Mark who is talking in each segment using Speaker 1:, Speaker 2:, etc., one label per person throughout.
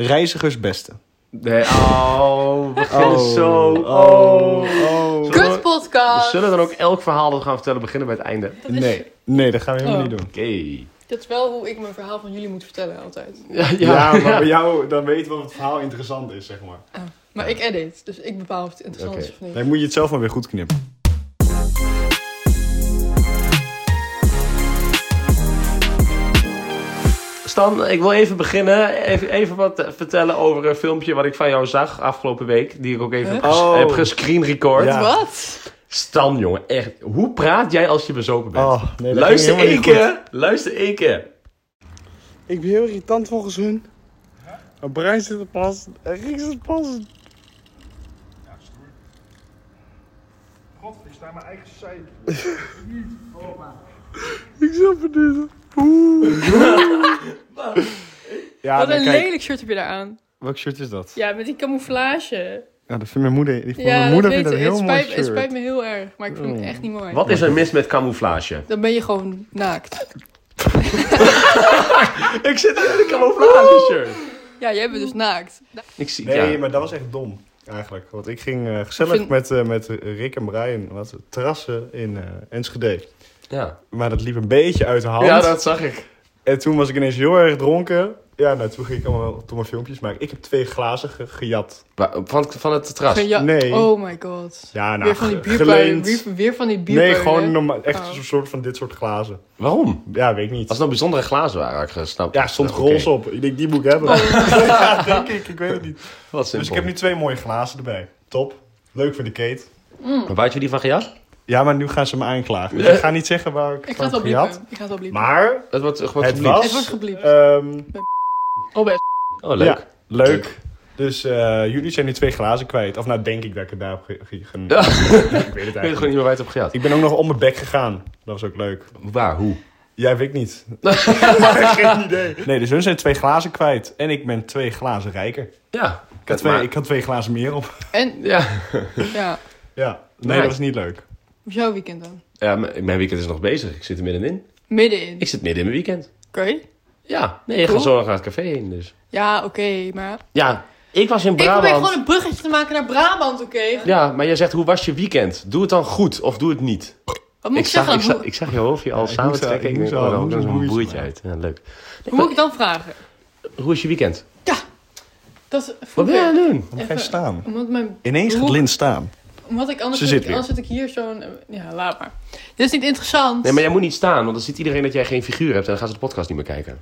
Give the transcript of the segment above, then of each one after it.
Speaker 1: Reizigers beste.
Speaker 2: Nee, oh, we beginnen zo. Oh,
Speaker 1: oh.
Speaker 2: Zullen
Speaker 3: Kut
Speaker 2: we,
Speaker 3: podcast.
Speaker 2: zullen we dan ook elk verhaal dat we gaan vertellen beginnen bij het einde? Oké.
Speaker 3: Dat is,
Speaker 1: Nee, nee, dat gaan we helemaal
Speaker 3: Oh.
Speaker 1: niet doen.
Speaker 3: Dat is wel hoe ik mijn verhaal van jullie moet vertellen altijd.
Speaker 2: Ja,
Speaker 1: Ja,
Speaker 2: ja,
Speaker 1: maar bij
Speaker 2: ja.
Speaker 1: jou, dan weten we of het verhaal interessant is, zeg maar.
Speaker 3: Maar ik edit, dus ik bepaal of het interessant
Speaker 2: Oké.
Speaker 3: is of niet.
Speaker 1: Dan moet je het zelf maar weer goed knippen.
Speaker 2: Stan, ik wil even beginnen. Even, even wat eh, vertellen over een filmpje wat ik van jou zag afgelopen week. Die ik ook even heb ges-
Speaker 1: Oh.
Speaker 2: heb gescreen record.
Speaker 1: Ja.
Speaker 3: Wat?
Speaker 2: Stan, jongen, echt. Hoe praat jij als je bezopen bent?
Speaker 1: Oh, nee, dat
Speaker 2: luister
Speaker 1: ging helemaal
Speaker 2: één
Speaker 1: niet
Speaker 2: keer. Luister één keer.
Speaker 4: Ik ben heel irritant volgens hun. Mijn brein zit er pas. En Rick zit er pas.
Speaker 5: God, ik sta in mijn eigen zij.
Speaker 4: Ik snap het niet.
Speaker 1: Ja,
Speaker 3: Wat
Speaker 1: dan
Speaker 3: een
Speaker 1: kijk.
Speaker 3: lelijk shirt heb je daar aan.
Speaker 1: Welk shirt is dat?
Speaker 3: Ja, met die camouflage.
Speaker 1: Ja, dat vindt mijn moeder. Die,
Speaker 3: ja,
Speaker 1: mijn moeder
Speaker 3: dat
Speaker 1: vindt
Speaker 3: weet
Speaker 1: dat
Speaker 3: ik.
Speaker 1: heel
Speaker 3: het,
Speaker 1: mooi
Speaker 3: spijt, het
Speaker 1: shirt. Mm.
Speaker 3: spijt me heel erg, maar ik vind het echt niet mooi.
Speaker 2: Wat is er mis met camouflage?
Speaker 3: Dan ben je gewoon naakt.
Speaker 2: ik zit in een camouflage shirt.
Speaker 3: Ja, jij bent dus naakt.
Speaker 2: Ik zie,
Speaker 1: Nee,
Speaker 2: ja.
Speaker 1: maar dat was echt dom. Eigenlijk. Want ik ging eh, gezellig
Speaker 3: Ik vind-
Speaker 1: met, eh, met Rick en Brian wat terrassen in eh, Enschede.
Speaker 2: Ja.
Speaker 1: Maar dat liep een beetje uit de hand.
Speaker 2: ja, dat zag ik.
Speaker 1: En toen was ik ineens heel erg dronken. Ja, nou, toen ging ik allemaal toen maar filmpjes maken. Ik heb twee glazen ge- gejat.
Speaker 2: Maar Van, van het terras.
Speaker 3: Van ja-
Speaker 1: nee.
Speaker 3: Oh my god.
Speaker 1: Ja, nou,
Speaker 3: weer van die
Speaker 1: ge-
Speaker 3: bierpuilen.
Speaker 1: geleend.
Speaker 3: Weer, weer van die bierpuilen.
Speaker 1: Nee, gewoon normaal, echt
Speaker 3: Oh.
Speaker 1: een soort van dit soort glazen.
Speaker 2: Waarom?
Speaker 1: Ja, weet ik niet.
Speaker 2: Als het nou bijzondere glazen waren, had ik gesnapt.
Speaker 1: Ja, stond
Speaker 2: Oké.
Speaker 1: roze op. Ik denk, die moet ik hebben.
Speaker 3: Oh.
Speaker 1: ja, denk ik. Ik weet het niet.
Speaker 2: Wat simpel.
Speaker 1: Dus ik heb nu twee mooie glazen erbij. Top. Leuk voor de Kate.
Speaker 3: Hm.
Speaker 2: Maar waar had je die van gejat?
Speaker 1: Ja, maar nu gaan ze me aanklagen. Dus ik ga niet zeggen waar ik,
Speaker 3: Ik ga
Speaker 1: van
Speaker 3: het wel
Speaker 1: heb gejat.
Speaker 3: bliepen. Ik ga het wel bliepen.
Speaker 1: Maar
Speaker 2: Het wordt gewoon
Speaker 1: het was...
Speaker 3: Het wordt gebliept.
Speaker 1: ehm,
Speaker 3: Oh, best.
Speaker 2: Oh, leuk.
Speaker 1: Ja, leuk. Dus eh, jullie zijn nu twee glazen kwijt. Of nou, denk ik dat ik het daar heb ge- ge- ge-
Speaker 2: Ja.
Speaker 1: Ik weet het
Speaker 2: Ik weet
Speaker 1: eigenlijk
Speaker 2: gewoon
Speaker 1: niet.
Speaker 2: niet meer waar je het op gejat.
Speaker 1: Ik ben ook nog om mijn bek gegaan. Dat was ook leuk.
Speaker 2: Waar? Hoe?
Speaker 1: Jij weet ik niet. Geen idee. Nee, dus hun zijn twee glazen kwijt. En ik ben twee glazen rijker. Ik
Speaker 2: Ja.
Speaker 1: had
Speaker 2: het
Speaker 1: twee,
Speaker 2: maar-
Speaker 1: ik had twee glazen meer op.
Speaker 3: En,
Speaker 2: Ja.
Speaker 3: ja,
Speaker 1: Ja. Nee,
Speaker 2: Nice.
Speaker 1: dat was niet leuk.
Speaker 3: op jouw weekend dan.
Speaker 2: ja, m- mijn weekend is nog bezig. Ik zit er middenin.
Speaker 3: Middenin.
Speaker 2: Ik zit midden in mijn weekend.
Speaker 3: Oké.
Speaker 2: Ja. Nee, ik ga
Speaker 3: Cool.
Speaker 2: zo nog naar het café heen, dus.
Speaker 3: Ja, oké, maar...
Speaker 2: Ja, ik was in
Speaker 3: Ik probeer gewoon
Speaker 2: Brabant.
Speaker 3: een bruggetje te maken naar Brabant, oké?
Speaker 2: Ja, maar jij zegt, hoe was je weekend? Doe het dan goed of doe het niet.
Speaker 3: Wat moet ik,
Speaker 2: ik, zag,
Speaker 3: zeggen
Speaker 2: ik,
Speaker 3: dan?
Speaker 2: zag,
Speaker 3: Hoe,
Speaker 2: ik zag je hoofdje al
Speaker 1: ik
Speaker 2: samen
Speaker 1: moest al-
Speaker 2: trekken.
Speaker 1: ik
Speaker 2: Ik
Speaker 1: moest
Speaker 2: denk,
Speaker 1: al-
Speaker 2: oh, dan
Speaker 1: moest
Speaker 2: komt
Speaker 1: een
Speaker 2: zo'n
Speaker 1: boertje
Speaker 2: boertje uit.
Speaker 1: uit.
Speaker 2: Ja, leuk.
Speaker 3: hoe moet ik dan vragen?
Speaker 2: Hoe is je weekend?
Speaker 3: Ja, dat
Speaker 2: Wat
Speaker 3: voel
Speaker 2: wil je aan
Speaker 3: ik.
Speaker 2: het doen?
Speaker 1: Dan ga je
Speaker 3: Even-
Speaker 1: staan.
Speaker 3: Omdat, mijn,
Speaker 1: Ineens gaat
Speaker 3: Hoe-
Speaker 1: Lin staan.
Speaker 3: omdat ik anders,
Speaker 1: Ze
Speaker 3: zit,
Speaker 1: zit
Speaker 3: ik,
Speaker 1: weer.
Speaker 3: anders zit ik hier zo'n... eh, Ja, laat maar. Dit is niet interessant.
Speaker 2: Nee, maar jij moet niet staan, want dan ziet iedereen dat jij geen figuur hebt en dan gaan ze de podcast niet meer kijken.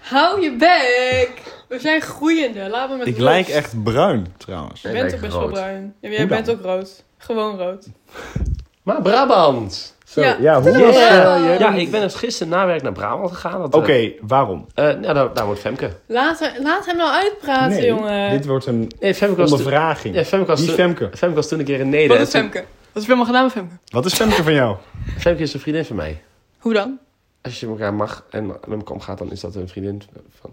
Speaker 3: Hou je bek! We zijn groeiende, laat me met
Speaker 1: Ik
Speaker 3: rust.
Speaker 1: lijk echt bruin, trouwens.
Speaker 3: Je
Speaker 2: Jij
Speaker 3: bent
Speaker 2: lijkt
Speaker 3: ook best
Speaker 2: rood.
Speaker 3: wel bruin. Ja, maar jij
Speaker 1: Hoe dan?
Speaker 3: bent ook rood. Gewoon rood.
Speaker 2: Maar Brabant!
Speaker 3: Ja.
Speaker 1: hoe
Speaker 3: was, eh, jij
Speaker 2: ja, ik ben dus gisteren na werk naar Brabant gegaan. want, eh,
Speaker 1: Oké, waarom?
Speaker 2: eh, nou, daar, daar wordt Femke.
Speaker 3: Laat, hem- laat hem nou uitpraten, jongen.
Speaker 1: dit wordt een
Speaker 2: Nee, Femke was, toen-
Speaker 1: ondervraging.
Speaker 2: ja, Femke was
Speaker 1: Wie is
Speaker 2: toen-
Speaker 1: Femke?
Speaker 2: Femke was toen een keer in Nederland.
Speaker 3: Wat is Femke? Wat is er helemaal gedaan met Femke?
Speaker 1: Wat is Femke van jou?
Speaker 2: Femke is een vriendin van mij.
Speaker 3: Hoe dan?
Speaker 2: Als je elkaar mag en met elkaar omgaat, dan is dat een vriendin van...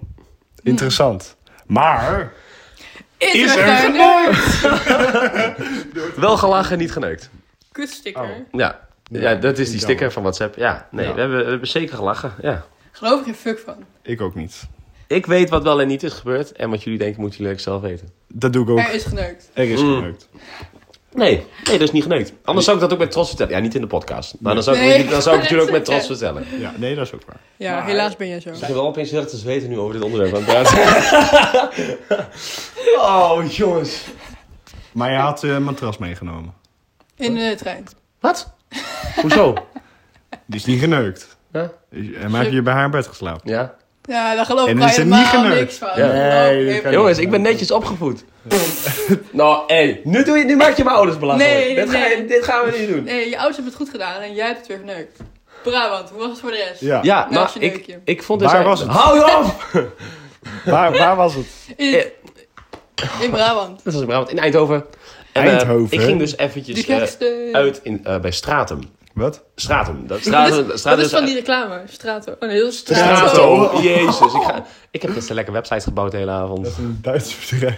Speaker 1: Interessant. Maar...
Speaker 3: Is,
Speaker 1: Is er
Speaker 3: een
Speaker 2: Wel gelachen, niet geneukt.
Speaker 3: Kutsticker.
Speaker 2: Ja. Ja, dat is die sticker van WhatsApp. Ja, nee,
Speaker 1: Ja.
Speaker 2: We, hebben, we hebben zeker gelachen. Ja.
Speaker 3: Geloof ik geen fuck van.
Speaker 1: Ik ook niet.
Speaker 2: Ik weet wat wel en niet is gebeurd. En wat jullie denken, moeten jullie leuk zelf weten.
Speaker 1: Dat doe ik ook.
Speaker 3: Er is geneukt.
Speaker 1: Er is
Speaker 2: Mm.
Speaker 1: geneukt.
Speaker 2: Nee, nee, dat is niet geneukt. Anders zou ik dat ook met trots vertellen. Ja, niet in de podcast. Maar dan zou ik,
Speaker 3: Nee,
Speaker 2: dan zou ik
Speaker 3: ik
Speaker 2: het jullie ook
Speaker 3: wou
Speaker 2: met
Speaker 3: net
Speaker 2: trots
Speaker 3: zeggen.
Speaker 2: vertellen.
Speaker 1: Ja, nee, dat is ook waar.
Speaker 3: Ja,
Speaker 2: Maar-
Speaker 3: helaas ben jij zo.
Speaker 2: Ik heb wel opeens heel erg te zweten nu over dit onderwerp. aan het praten. oh, jongens.
Speaker 1: Maar je had eh, een matras meegenomen.
Speaker 3: In de trein.
Speaker 2: Wat? Hoezo?
Speaker 1: Die is niet geneukt.
Speaker 2: Ja?
Speaker 1: En maar heb je bij haar in bed geslapen?
Speaker 2: ja?
Speaker 3: Ja, daar geloof
Speaker 1: En
Speaker 3: ik
Speaker 1: is er niet
Speaker 3: helemaal
Speaker 1: geneukt.
Speaker 3: niks van.
Speaker 2: Ja.
Speaker 1: Nee,
Speaker 3: Oh,
Speaker 1: dat kan
Speaker 3: nee,
Speaker 2: Jongens, ik ben netjes opgevoed. nou, hé. Nu, doe je, nu maak je mijn ouders belachelijk.
Speaker 3: Nee,
Speaker 2: dit, ga je,
Speaker 3: nee.
Speaker 2: dit gaan we niet doen.
Speaker 3: nee, je ouders hebben het goed gedaan en jij hebt het weer geneukt. Brabant, hoe was het voor de rest?
Speaker 1: Ja.
Speaker 2: Ja,
Speaker 3: Nou,
Speaker 2: maar
Speaker 3: als je
Speaker 2: ik,
Speaker 3: neukje.
Speaker 2: ik vond dus...
Speaker 1: Waar was het?
Speaker 2: Hou op!
Speaker 1: Waar, waar was het?
Speaker 3: In, in Brabant.
Speaker 2: Dat was in Brabant, in Eindhoven. En, eh,
Speaker 1: Eindhoven,
Speaker 2: ik
Speaker 1: hè?
Speaker 2: ging dus eventjes
Speaker 3: De
Speaker 2: eh,
Speaker 3: gekste.
Speaker 2: uit in, eh, bij Stratum.
Speaker 1: Wat?
Speaker 2: Stratum. Dat,
Speaker 3: dat
Speaker 2: Stratum,
Speaker 3: is, dat
Speaker 2: Stratum
Speaker 3: is van die reclame. Strato. Oh nee, dat is Oh, Strato.
Speaker 2: Stratum. Jezus. Ik, ga, ik heb best een lekkere website gebouwd de hele avond.
Speaker 1: Dat is een Duits bedrijf.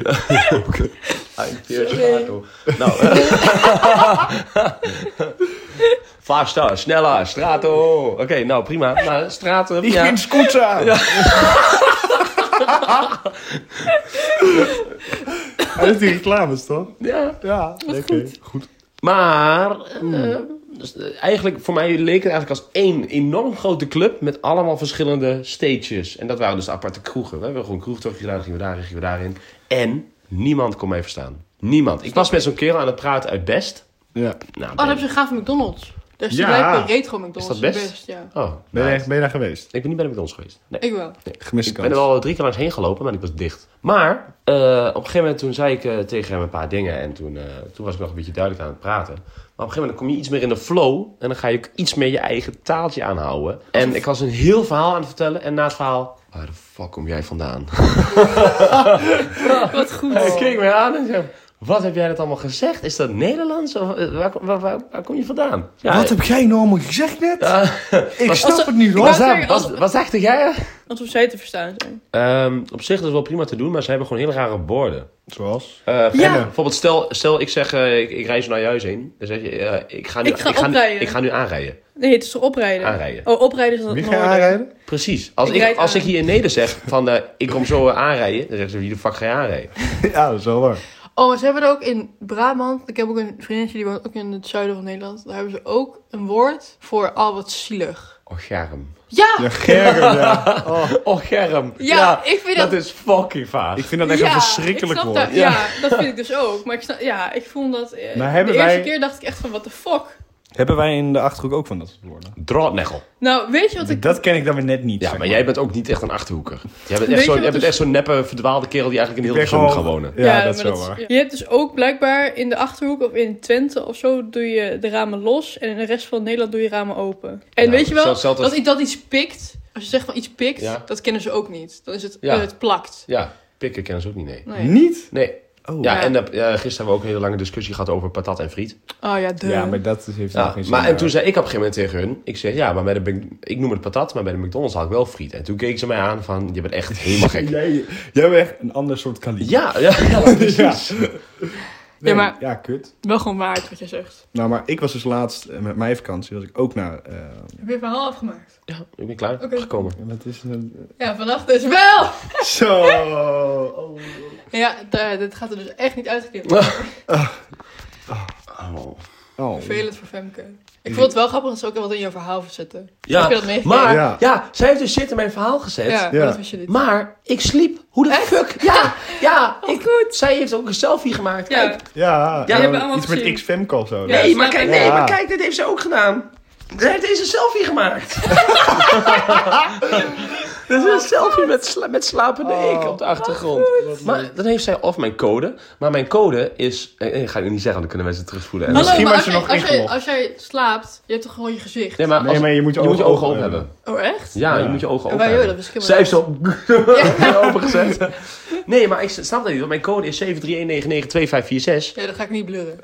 Speaker 2: Stratum. Nou. Faster, sneller, Strato. Oké, nou prima. Nou, Stratum,
Speaker 1: Ik
Speaker 2: ja.
Speaker 1: vind Scooter.
Speaker 4: Hij heeft die reclames, toch?
Speaker 2: Ja.
Speaker 4: Ja, lekker. Goed.
Speaker 2: Maar eh, dus, eh, eigenlijk voor mij leek het eigenlijk als één enorm grote club met allemaal verschillende stages. En dat waren dus de aparte kroegen. We hebben gewoon een kroegtochtje gedaan, dan gingen we daarin, gingen we daarin. En niemand kon mij verstaan. Niemand. Ik was met zo'n kerel aan het praten uit Best.
Speaker 4: Ja.
Speaker 2: Nou,
Speaker 3: Oh, dat
Speaker 2: ben-
Speaker 3: heb je gaaf McDonald's. Daar is
Speaker 4: Ja.
Speaker 3: blijkbaar retro McDonald's.
Speaker 2: Is dat best?
Speaker 3: ja.
Speaker 2: oh,
Speaker 4: Ben je,
Speaker 2: nou,
Speaker 4: echt- ben je daar geweest?
Speaker 2: Ik ben niet bij de ons geweest. Nee.
Speaker 3: Ik wel.
Speaker 4: Gemiste
Speaker 2: Ik ben er
Speaker 4: kans.
Speaker 2: al drie keer langs heen gelopen, maar ik was dicht. Maar eh, op een gegeven moment toen zei ik eh, tegen hem een paar dingen. En toen, eh, toen was ik nog een beetje duidelijk aan het praten. Maar op een gegeven moment dan kom je iets meer in de flow. En dan ga je ook iets meer je eigen taaltje aanhouden. En ik was een heel verhaal aan het vertellen. En na het verhaal... Waar de fuck kom jij vandaan?
Speaker 3: Wat goed.
Speaker 2: Hij keek mij aan en zei... Wat heb jij dat allemaal gezegd? Is dat Nederlands? Of, eh, waar, waar, waar, waar kom je vandaan? Ja,
Speaker 1: Wat heb jij nou allemaal gezegd net?
Speaker 2: Ja.
Speaker 1: Ik
Speaker 3: Als
Speaker 1: snap
Speaker 3: ze-
Speaker 1: het niet
Speaker 3: wou
Speaker 1: hoor.
Speaker 3: zeggen,
Speaker 2: was, wat zegt jij?
Speaker 3: Want we zij te verstaan zijn.
Speaker 2: Ehm, op zich is het wel prima te doen, maar ze hebben gewoon hele rare woorden.
Speaker 4: Zoals?
Speaker 2: Eh,
Speaker 3: Ja.
Speaker 2: Bijvoorbeeld, stel, stel ik zeg, eh, ik, ik rij zo naar je huis heen. Dan zeg je, eh, ik, ga nu,
Speaker 3: Ik ga
Speaker 2: nu,
Speaker 3: oprijden.
Speaker 2: ik ga nu aanrijden.
Speaker 3: Nee, het is toch oprijden?
Speaker 2: Aanrijden.
Speaker 3: Oh, oprijden is dan
Speaker 4: Wie
Speaker 3: het
Speaker 4: ga je
Speaker 3: noorden.
Speaker 4: aanrijden?
Speaker 2: Precies. Als
Speaker 3: Ik
Speaker 2: ik,
Speaker 3: rijd
Speaker 2: als
Speaker 3: aan.
Speaker 2: ik hier in Neder zeg van, eh, ik kom zo eh, aanrijden. Dan zeggen ze, wie de fuck ga je aanrijden?
Speaker 4: Ja, dat is wel waar.
Speaker 3: Oh, maar ze hebben er ook in Brabant. Ik heb ook een vriendinnetje die woont ook in het zuiden van Nederland. Daar hebben ze ook een woord voor al wat zielig.
Speaker 2: Och, germ.
Speaker 3: Ja!
Speaker 4: Ja, Gerben, ja.
Speaker 2: Och, germ.
Speaker 3: Ja, ik vind dat-
Speaker 2: is fucking vaag.
Speaker 1: Ik vind dat echt een
Speaker 3: ik
Speaker 1: verschrikkelijk
Speaker 3: snap
Speaker 1: woord.
Speaker 3: Dat, ja. dat vind ik dus ook. Maar ik, snap, ja, ik vond dat... eh,
Speaker 4: Maar hebben
Speaker 3: de eerste
Speaker 4: wij-
Speaker 3: keer dacht ik echt van, what the fuck?
Speaker 1: Hebben wij in de Achterhoek ook van dat soort woorden?
Speaker 2: Draadnegel.
Speaker 3: Nou, weet je wat ik...
Speaker 1: Dat ken ik dan weer net niet.
Speaker 2: Ja,
Speaker 1: zeg
Speaker 2: maar jij bent ook niet echt een Achterhoeker. Jij bent
Speaker 3: Weet
Speaker 2: echt
Speaker 3: je
Speaker 2: zo'n
Speaker 3: wat
Speaker 2: jij bent
Speaker 3: dus-
Speaker 2: echt zo'n neppe, verdwaalde kerel die eigenlijk in
Speaker 1: Ik
Speaker 2: heel
Speaker 1: ben
Speaker 2: Hilversum gaat
Speaker 1: gewoon-
Speaker 2: wonen.
Speaker 1: Ja, dat is
Speaker 3: maar
Speaker 1: wel waar.
Speaker 3: Je hebt dus ook blijkbaar in de Achterhoek of in Twente of zo doe je de ramen los. En in de rest van Nederland doe je ramen open. En
Speaker 2: Ja,
Speaker 3: weet je wel,
Speaker 2: zelfs- zelfs als-
Speaker 3: dat, i- dat iets pikt. Als je zegt van iets pikt,
Speaker 2: Ja.
Speaker 3: dat kennen ze ook niet. Dan is het,
Speaker 2: Ja.
Speaker 3: eh, het plakt.
Speaker 2: Ja, pikken kennen ze ook niet, nee.
Speaker 3: Nee.
Speaker 1: Niet?
Speaker 2: Nee.
Speaker 1: Oh.
Speaker 2: Ja,
Speaker 3: Ja.
Speaker 2: en eh, eh, gisteren hebben we ook een hele lange discussie gehad over patat en friet.
Speaker 3: Oh ja, de.
Speaker 1: Ja, maar dat heeft nog
Speaker 2: Ja,
Speaker 1: geen zin.
Speaker 2: maar en
Speaker 1: meer.
Speaker 2: toen zei ik op een gegeven moment tegen hun, ik zeg ja, maar bij de, Mc- ik noem het patat, maar bij de McDonald's had ik wel friet. En toen keken ze mij aan van, je bent echt helemaal gek.
Speaker 1: Jij, jij bent echt een ander soort kaliber.
Speaker 2: Ja, ja, ja, precies.
Speaker 1: Nee,
Speaker 3: Ja, maar-
Speaker 1: ja, kut.
Speaker 3: Wel gewoon waard wat jij zegt.
Speaker 1: Nou, maar ik was dus laatst eh, met mijn vakantie, was ik ook naar... eh,
Speaker 3: Heb je het verhaal afgemaakt?
Speaker 2: Ja, ik ben klaar
Speaker 3: Oké.
Speaker 2: gekomen.
Speaker 1: wat is het?
Speaker 3: Ja, vanaf dus wel!
Speaker 1: Zo! Oh.
Speaker 3: Ja, d- dit gaat er dus echt niet uitgeknipt worden.
Speaker 2: Oh.
Speaker 1: Oh.
Speaker 3: Vervelend voor Femke. Ik vond het wel grappig dat ze ook wat in jouw verhaal verzetten.
Speaker 2: Ja,
Speaker 3: Heb je dat meegekregen?
Speaker 2: maar ja.
Speaker 1: Ja.
Speaker 2: zij heeft dus shit in mijn verhaal gezet.
Speaker 3: Ja, maar
Speaker 1: Ja.
Speaker 3: dat wist je niet.
Speaker 2: Maar ik sliep. Hoe de fuck? Ja, ja.
Speaker 3: Oh,
Speaker 2: Ik, zij heeft ook een selfie gemaakt.
Speaker 3: Ja,
Speaker 2: Kijk.
Speaker 1: Ja,
Speaker 2: Ja,
Speaker 1: eh,
Speaker 3: hebben we allemaal
Speaker 1: iets met
Speaker 3: gezien.
Speaker 1: X-Femco of zo.
Speaker 3: Ja,
Speaker 2: Nee,
Speaker 3: snap
Speaker 2: maar kijk,
Speaker 3: ik.
Speaker 2: nee,
Speaker 1: Ja.
Speaker 2: maar kijk, dit heeft ze ook gedaan. Ze heeft deze selfie gemaakt. Dit
Speaker 1: Oh,
Speaker 2: is een selfie met, sla- met slapende ik op de achtergrond. Maar dan heeft zij of mijn code. Maar mijn code is... eh, eh, ga ik niet zeggen, want dan kunnen mensen het terugspoelen. En
Speaker 3: Hallo,
Speaker 1: Misschien
Speaker 3: maar
Speaker 1: was
Speaker 3: als,
Speaker 1: je
Speaker 3: jij-
Speaker 1: nog
Speaker 3: als, jij,
Speaker 1: ingelogd.
Speaker 3: als jij slaapt, je hebt toch gewoon je gezicht?
Speaker 2: Nee, maar,
Speaker 1: Nee,
Speaker 2: als-
Speaker 1: maar je moet je ogen
Speaker 2: open
Speaker 1: open
Speaker 2: hebben.
Speaker 3: Oh, echt?
Speaker 2: Ja, je
Speaker 1: Ja.
Speaker 2: moet je ogen
Speaker 3: En
Speaker 2: open
Speaker 3: wij, joh,
Speaker 2: hebben.
Speaker 3: dat wist ik helemaal
Speaker 2: Zij heeft
Speaker 3: niet.
Speaker 2: zo opengezet. Nee, maar ik snap dat niet. Want mijn code is 731992546.
Speaker 3: Ja, dat ga ik niet blurren.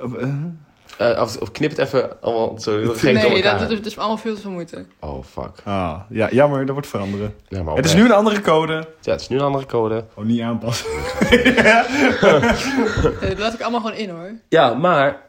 Speaker 2: Eh, of, of knip het even allemaal zo heel gek door
Speaker 3: nee,
Speaker 2: elkaar.
Speaker 3: dat, dat, is- dat is me allemaal veel te veel moeite.
Speaker 2: Oh, fuck.
Speaker 1: Ah, ja, jammer, dat wordt veranderen.
Speaker 2: Ja, maar
Speaker 1: Het is
Speaker 2: oprecht.
Speaker 1: nu een andere code.
Speaker 2: Ja, het is nu een andere code.
Speaker 1: Oh, niet aanpassen.
Speaker 3: Eh, dat laat ik allemaal gewoon in hoor.
Speaker 2: Ja, maar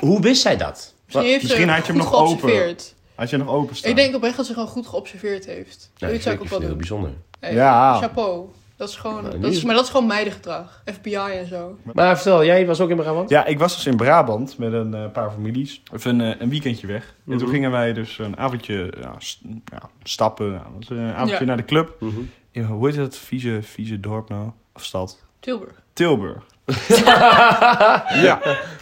Speaker 2: hoe wist zij dat?
Speaker 3: Misschien, heeft ze
Speaker 1: misschien had je hem
Speaker 3: goed
Speaker 1: nog open.
Speaker 3: geobserveerd.
Speaker 1: Had je nog openstaan?
Speaker 3: Ik denk oprecht dat ze gewoon goed geobserveerd heeft.
Speaker 2: Nou,
Speaker 3: Zoiets zou ik ook
Speaker 2: vind
Speaker 3: wel
Speaker 2: heel
Speaker 3: doen.
Speaker 2: bijzonder.
Speaker 3: Hey,
Speaker 1: Ja.
Speaker 3: Chapeau. Dat is gewoon,
Speaker 2: Nou, nu
Speaker 3: dat
Speaker 2: is-
Speaker 3: is, maar dat is gewoon meidengedrag. FBI en zo.
Speaker 2: Maar vertel, jij was ook in Brabant?
Speaker 1: Ja, ik was dus in Brabant met een eh, paar families. Even een, eh, een weekendje weg. En toen gingen wij dus een avondje ja, s- ja, stappen. Ja, dat is een avondje
Speaker 3: Ja.
Speaker 1: naar de club.
Speaker 2: Mhm.
Speaker 1: In, hoe heet dat vieze, vieze dorp nou? Of stad?
Speaker 3: Tilburg.
Speaker 1: Tilburg. ja.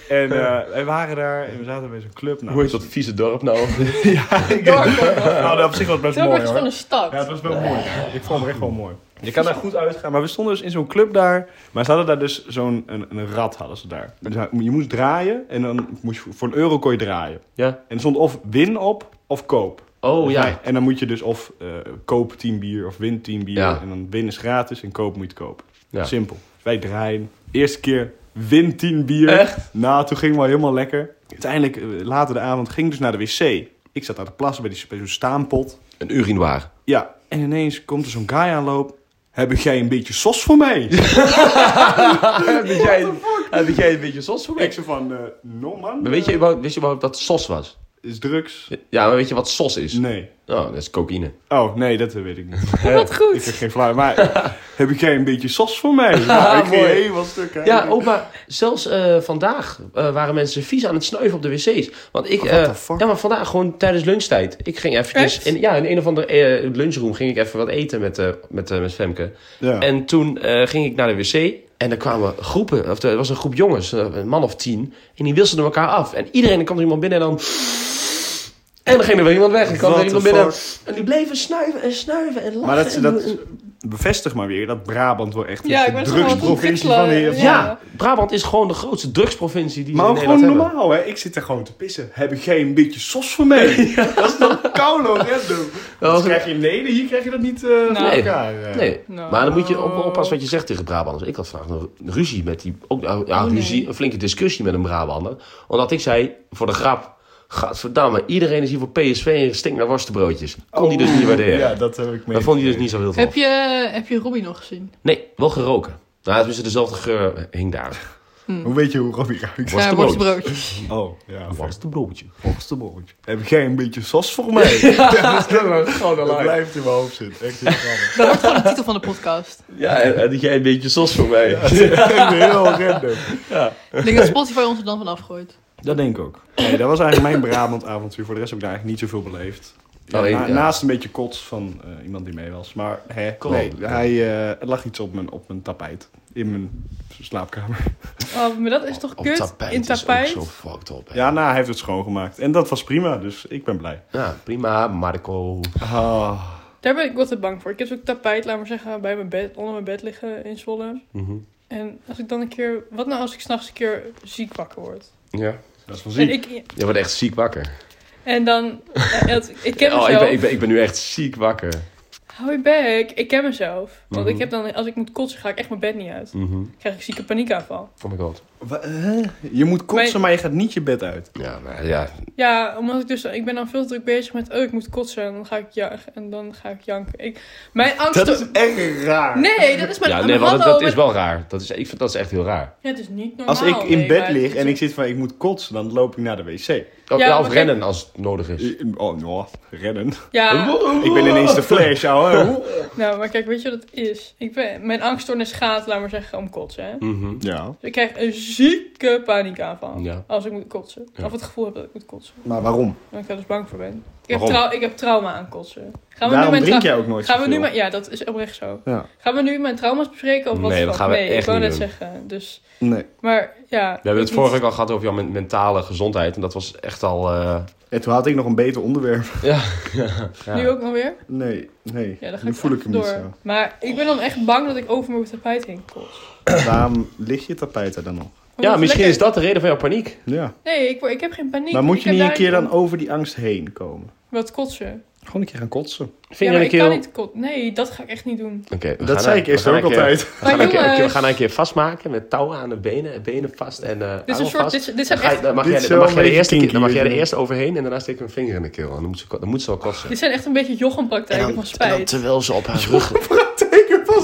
Speaker 1: En eh, wij waren daar en we zaten bij zo'n club. Nou,
Speaker 2: Hoe heet dat vieze dorp nou?
Speaker 1: ja, ik
Speaker 3: Dorp, hoor.
Speaker 1: Nou, dat op zich was best
Speaker 3: Tilburg
Speaker 1: mooi
Speaker 3: is gewoon
Speaker 1: hoor.
Speaker 3: een stad.
Speaker 1: Ja, het was wel mooi. Ik vond hem echt wel mooi. Je kan daar goed uitgaan. Maar we stonden dus in zo'n club daar. Maar ze hadden daar dus zo'n een, een rad hadden ze daar. Dus je moest draaien en dan moest je voor een euro kon je draaien.
Speaker 2: ja.
Speaker 1: En er stond of win op of koop.
Speaker 2: Oh ja.
Speaker 1: En dan moet je dus of eh koop 10 bier of win 10 bier.
Speaker 2: Ja.
Speaker 1: En dan win is gratis en koop moet je het kopen.
Speaker 2: Ja.
Speaker 1: Simpel. Dus wij draaien. Eerste keer win 10 bier.
Speaker 2: Echt?
Speaker 1: Nou, toen ging wel helemaal lekker. Uiteindelijk, eh, later de avond, ging ik dus naar de wc. Ik zat aan de plassen bij, die- bij zo'n staanpot.
Speaker 2: Een urinoir.
Speaker 1: Ja, en ineens komt er zo'n guy aanloop. Heb jij een beetje sos voor mij?
Speaker 2: Heb jij, heb jij een beetje sos voor
Speaker 1: ik zo van, eh no man. Eh,
Speaker 2: Maar weet je, überhaupt- wist je überhaupt dat het sos was?
Speaker 1: is drugs.
Speaker 2: Ja, maar weet je wat SOS is?
Speaker 1: Nee.
Speaker 2: Oh, dat is cocaïne.
Speaker 1: Oh, nee, dat weet ik niet.
Speaker 3: Wat goed.
Speaker 1: Ik heb geen flauw. Maar eh, heb jij een beetje sos voor mij? Nou, ik ging
Speaker 2: Mooi.
Speaker 1: helemaal stuk. Hè?
Speaker 2: Ja, ook maar zelfs eh, vandaag eh, waren mensen vies aan het snuiven op de wc's. Want ik,
Speaker 1: Oh, What the
Speaker 2: eh,
Speaker 1: fuck?
Speaker 2: ja, maar vandaag gewoon tijdens lunchtijd. Ik ging eventjes,
Speaker 3: Echt?
Speaker 2: in, ja, in een of andere eh, lunchroom ging ik even wat eten met, eh, met, eh, met Femke.
Speaker 1: Ja.
Speaker 2: En toen eh, ging ik naar de wc en er kwamen groepen, of er was een groep jongens, eh, een man of tien. En die wisselden elkaar af. En iedereen, er kwam er iemand binnen en dan... En dan ging er weer iemand weg. En kwam
Speaker 1: What
Speaker 2: er iemand
Speaker 1: the
Speaker 2: binnen. En die bleven snuiven en snuiven en lachen.
Speaker 1: Maar dat,
Speaker 2: en
Speaker 1: dat bevestigt maar weer dat Brabant wel echt
Speaker 3: Ja, ik
Speaker 1: de
Speaker 3: wou zeggen, wat een
Speaker 1: drugsprovincie van
Speaker 3: drugsla-
Speaker 1: de
Speaker 2: Ja.
Speaker 1: heer.
Speaker 3: Ja.
Speaker 2: Brabant is gewoon de grootste drugsprovincie die
Speaker 1: Maar
Speaker 2: ze in
Speaker 1: ook gewoon
Speaker 2: Nederland hebben.
Speaker 1: normaal, hè? Ik zit er gewoon te pissen. Heb ik geen beetje sos voor mij? Dat is dan koulo random. Dat
Speaker 2: was-
Speaker 1: krijg je in Nederland, hier krijg je dat niet eh voor
Speaker 3: Nee.
Speaker 1: elkaar. eh.
Speaker 2: Nee,
Speaker 3: Nou.
Speaker 2: maar dan moet je ook wel oppassen wat je zegt tegen Brabanders. Ik had vandaag nog een ruzie met die, ook, nou, ja,
Speaker 3: Oh, nee.
Speaker 2: ruzie, een flinke discussie met een Brabander. Omdat ik zei, voor de grap, gadverdamme, iedereen is hier voor PSV en stinkt naar worstenbroodjes. Kon die dus niet waarderen.
Speaker 1: Oh, Ja, dat heb ik mee.
Speaker 2: dat vond hij dus niet zo heel tof.
Speaker 3: Heb je, heb je Robbie nog gezien?
Speaker 2: Nee, wel geroken. Nou, tenminste, dezelfde geur eh, hing daar.
Speaker 1: Hoe weet je hoe Robbie ruikt?
Speaker 2: Was
Speaker 3: Ja,
Speaker 2: de
Speaker 3: worstbroodjes.
Speaker 1: Oh, ja.
Speaker 2: Worstenbroodje.
Speaker 1: Worstenbroodje. Heb ik geen beetje sos voor mij? ja, dat, is gewoon dat blijft in mijn hoofd zitten. Echt heel grappig.
Speaker 3: Dat wordt gewoon de titel van de podcast.
Speaker 2: Ja, en, en dat jij een beetje sos voor mij.
Speaker 1: Echt heel random.
Speaker 3: Ik denk dat Spotify ons er dan van afgooit.
Speaker 1: Dat denk ik ook. Nee, dat was eigenlijk mijn Brabant-avontuur. Voor de rest heb ik daar eigenlijk niet zoveel beleefd. Ja,
Speaker 2: Alleen,
Speaker 1: na-
Speaker 2: Oh, ja.
Speaker 1: Naast een beetje kots van eh, iemand die mee was. Maar hè,
Speaker 2: Kom.
Speaker 1: nee, hij, eh, er lag iets op mijn, op mijn tapijt. In mijn slaapkamer.
Speaker 3: Oh, maar dat is toch
Speaker 2: Op
Speaker 3: kut?
Speaker 2: tapijt
Speaker 3: In
Speaker 2: is ook
Speaker 3: tapijt?
Speaker 2: zo fucked up. hè.
Speaker 1: Ja, nou, hij heeft het schoongemaakt. En dat was prima, dus ik ben blij.
Speaker 2: ja, Nou, prima, Marco.
Speaker 1: Ah,
Speaker 3: Daar ben ik wel te bang voor. Ik heb zo'n tapijt, laat maar zeggen, bij mijn bed, onder mijn bed liggen in Zwolle.
Speaker 2: Mhm.
Speaker 3: En als ik dan een keer... Wat nou als ik s'nachts een keer ziek wakker word?
Speaker 2: Ja.
Speaker 1: dat is wel
Speaker 3: En,
Speaker 1: ziek.
Speaker 3: ik,
Speaker 2: Je wordt echt ziek wakker.
Speaker 3: en dan... eh, het- ik ken
Speaker 2: Oh,
Speaker 3: mezelf.
Speaker 2: ik ben, ik, ben, ik ben nu echt ziek wakker.
Speaker 3: Hou je bek. Ik ken mezelf. Want ik
Speaker 2: Mhm.
Speaker 3: heb dan... Als ik moet kotsen, ga ik echt mijn bed niet uit.
Speaker 2: Mhm.
Speaker 3: Dan krijg ik zieke paniekaanval.
Speaker 2: Oh my god.
Speaker 1: Wa- hè? Je moet kotsen,
Speaker 3: Mijn-
Speaker 1: maar je gaat niet je bed uit.
Speaker 2: Ja, maar ja.
Speaker 3: Ja, omdat ik dus... Ik ben dan veel te druk bezig met... Oh, ik moet kotsen. En dan ga ik, ja, en dan ga ik janken. Ik, mijn angst...
Speaker 1: Dat is echt raar.
Speaker 3: Nee, dat is mijn...
Speaker 2: ja nee,
Speaker 3: hallo,
Speaker 2: want dat, dat
Speaker 3: mijn-
Speaker 2: is wel raar. Dat is, ik vind dat is echt heel raar.
Speaker 3: Ja, het is niet normaal.
Speaker 1: Als ik in
Speaker 3: nee,
Speaker 1: bed
Speaker 3: maar-
Speaker 1: lig en ik zit van ik moet kotsen, dan loop ik naar de wc.
Speaker 2: Of,
Speaker 3: Ja,
Speaker 2: ja, of
Speaker 3: maar
Speaker 2: rennen als het nodig is.
Speaker 1: Oh, nou, rennen.
Speaker 3: Ja,
Speaker 1: Ik ben ineens de flash, ouwe.
Speaker 3: nou, maar kijk, weet je wat het is? Ik ben, mijn angststoornis gaat, laat maar zeggen, om kotsen. Hè?
Speaker 2: Mhm.
Speaker 1: Ja.
Speaker 3: Dus ik krijg een zieke paniekaanval
Speaker 2: Ja.
Speaker 3: als ik moet kotsen.
Speaker 2: Ja.
Speaker 3: Of het gevoel heb dat ik moet kotsen.
Speaker 1: Maar waarom?
Speaker 3: En ik daar dus bang voor ben. Ik heb,
Speaker 1: Waarom?
Speaker 3: trau- ik heb trauma aan kotsen. Gaan we nu
Speaker 1: Daarom
Speaker 3: mijn
Speaker 1: drink
Speaker 3: trau-
Speaker 1: jij ook nooit
Speaker 3: Gaan we nu
Speaker 1: zoveel.
Speaker 3: maar, ja, dat is oprecht zo.
Speaker 1: Ja.
Speaker 3: Gaan we nu mijn trauma's bespreken of wat?
Speaker 2: Nee,
Speaker 3: is
Speaker 2: dat gaan we
Speaker 3: nee,
Speaker 2: echt
Speaker 3: ik wou
Speaker 2: niet
Speaker 3: net
Speaker 2: doen.
Speaker 3: zeggen. Dus,
Speaker 1: Nee.
Speaker 3: maar ja.
Speaker 2: We hebben
Speaker 3: ik
Speaker 2: het vorige
Speaker 3: niet-
Speaker 2: week al gehad over jouw men- mentale gezondheid. En dat was echt al... eh,
Speaker 1: En toen had ik nog een beter onderwerp.
Speaker 2: ja.
Speaker 3: Nu ook nog weer?
Speaker 1: Nee, nee.
Speaker 3: Ja, dan ga
Speaker 1: nu
Speaker 3: ik
Speaker 1: voel ik
Speaker 3: even
Speaker 1: hem
Speaker 3: door.
Speaker 1: niet zo.
Speaker 3: Maar ik ben dan echt bang dat ik over mijn tapijt heen kots.
Speaker 1: Waarom ligt je tapijt er dan nog?
Speaker 3: Omdat
Speaker 2: ja,
Speaker 3: het
Speaker 2: misschien
Speaker 3: lekker-
Speaker 2: is dat de reden van jouw paniek.
Speaker 1: Ja.
Speaker 3: Nee, ik, word- ik heb geen paniek.
Speaker 1: Maar moet
Speaker 3: Ik
Speaker 1: je
Speaker 3: heb
Speaker 1: niet een
Speaker 3: daar-
Speaker 1: keer dan over die angst heen komen?
Speaker 3: Wat kotsen?
Speaker 1: Gewoon een keer gaan kotsen.
Speaker 3: Ja,
Speaker 2: Vinger
Speaker 3: maar
Speaker 2: een
Speaker 3: ik
Speaker 2: keer...
Speaker 3: kan niet kot. Nee, dat ga ik echt niet doen.
Speaker 1: Dat zei ik eerst ook altijd.
Speaker 2: We gaan,
Speaker 3: Maar
Speaker 2: een keer, we
Speaker 3: jongens.
Speaker 2: gaan haar een keer vastmaken met touwen aan de benen. Benen vast en eh
Speaker 3: Dit is een
Speaker 2: armen
Speaker 3: soort...
Speaker 2: vast.
Speaker 3: Dit, dit
Speaker 2: Dan,
Speaker 3: zijn
Speaker 2: ga je-
Speaker 3: echt...
Speaker 2: dan mag
Speaker 1: Dit
Speaker 2: jij,
Speaker 1: is
Speaker 2: dan
Speaker 1: wel
Speaker 2: mag jij
Speaker 1: een
Speaker 2: de
Speaker 1: beetje
Speaker 2: eerste keer, dan mag
Speaker 1: kinky,
Speaker 2: jij er
Speaker 1: hè?
Speaker 2: eerst overheen en daarna steek ik een vinger in de keel. En dan moet ze, dan moet ze wel kotsen.
Speaker 3: Dit zijn echt een beetje jochenpraktijken van spijt.
Speaker 2: terwijl ze op haar rug...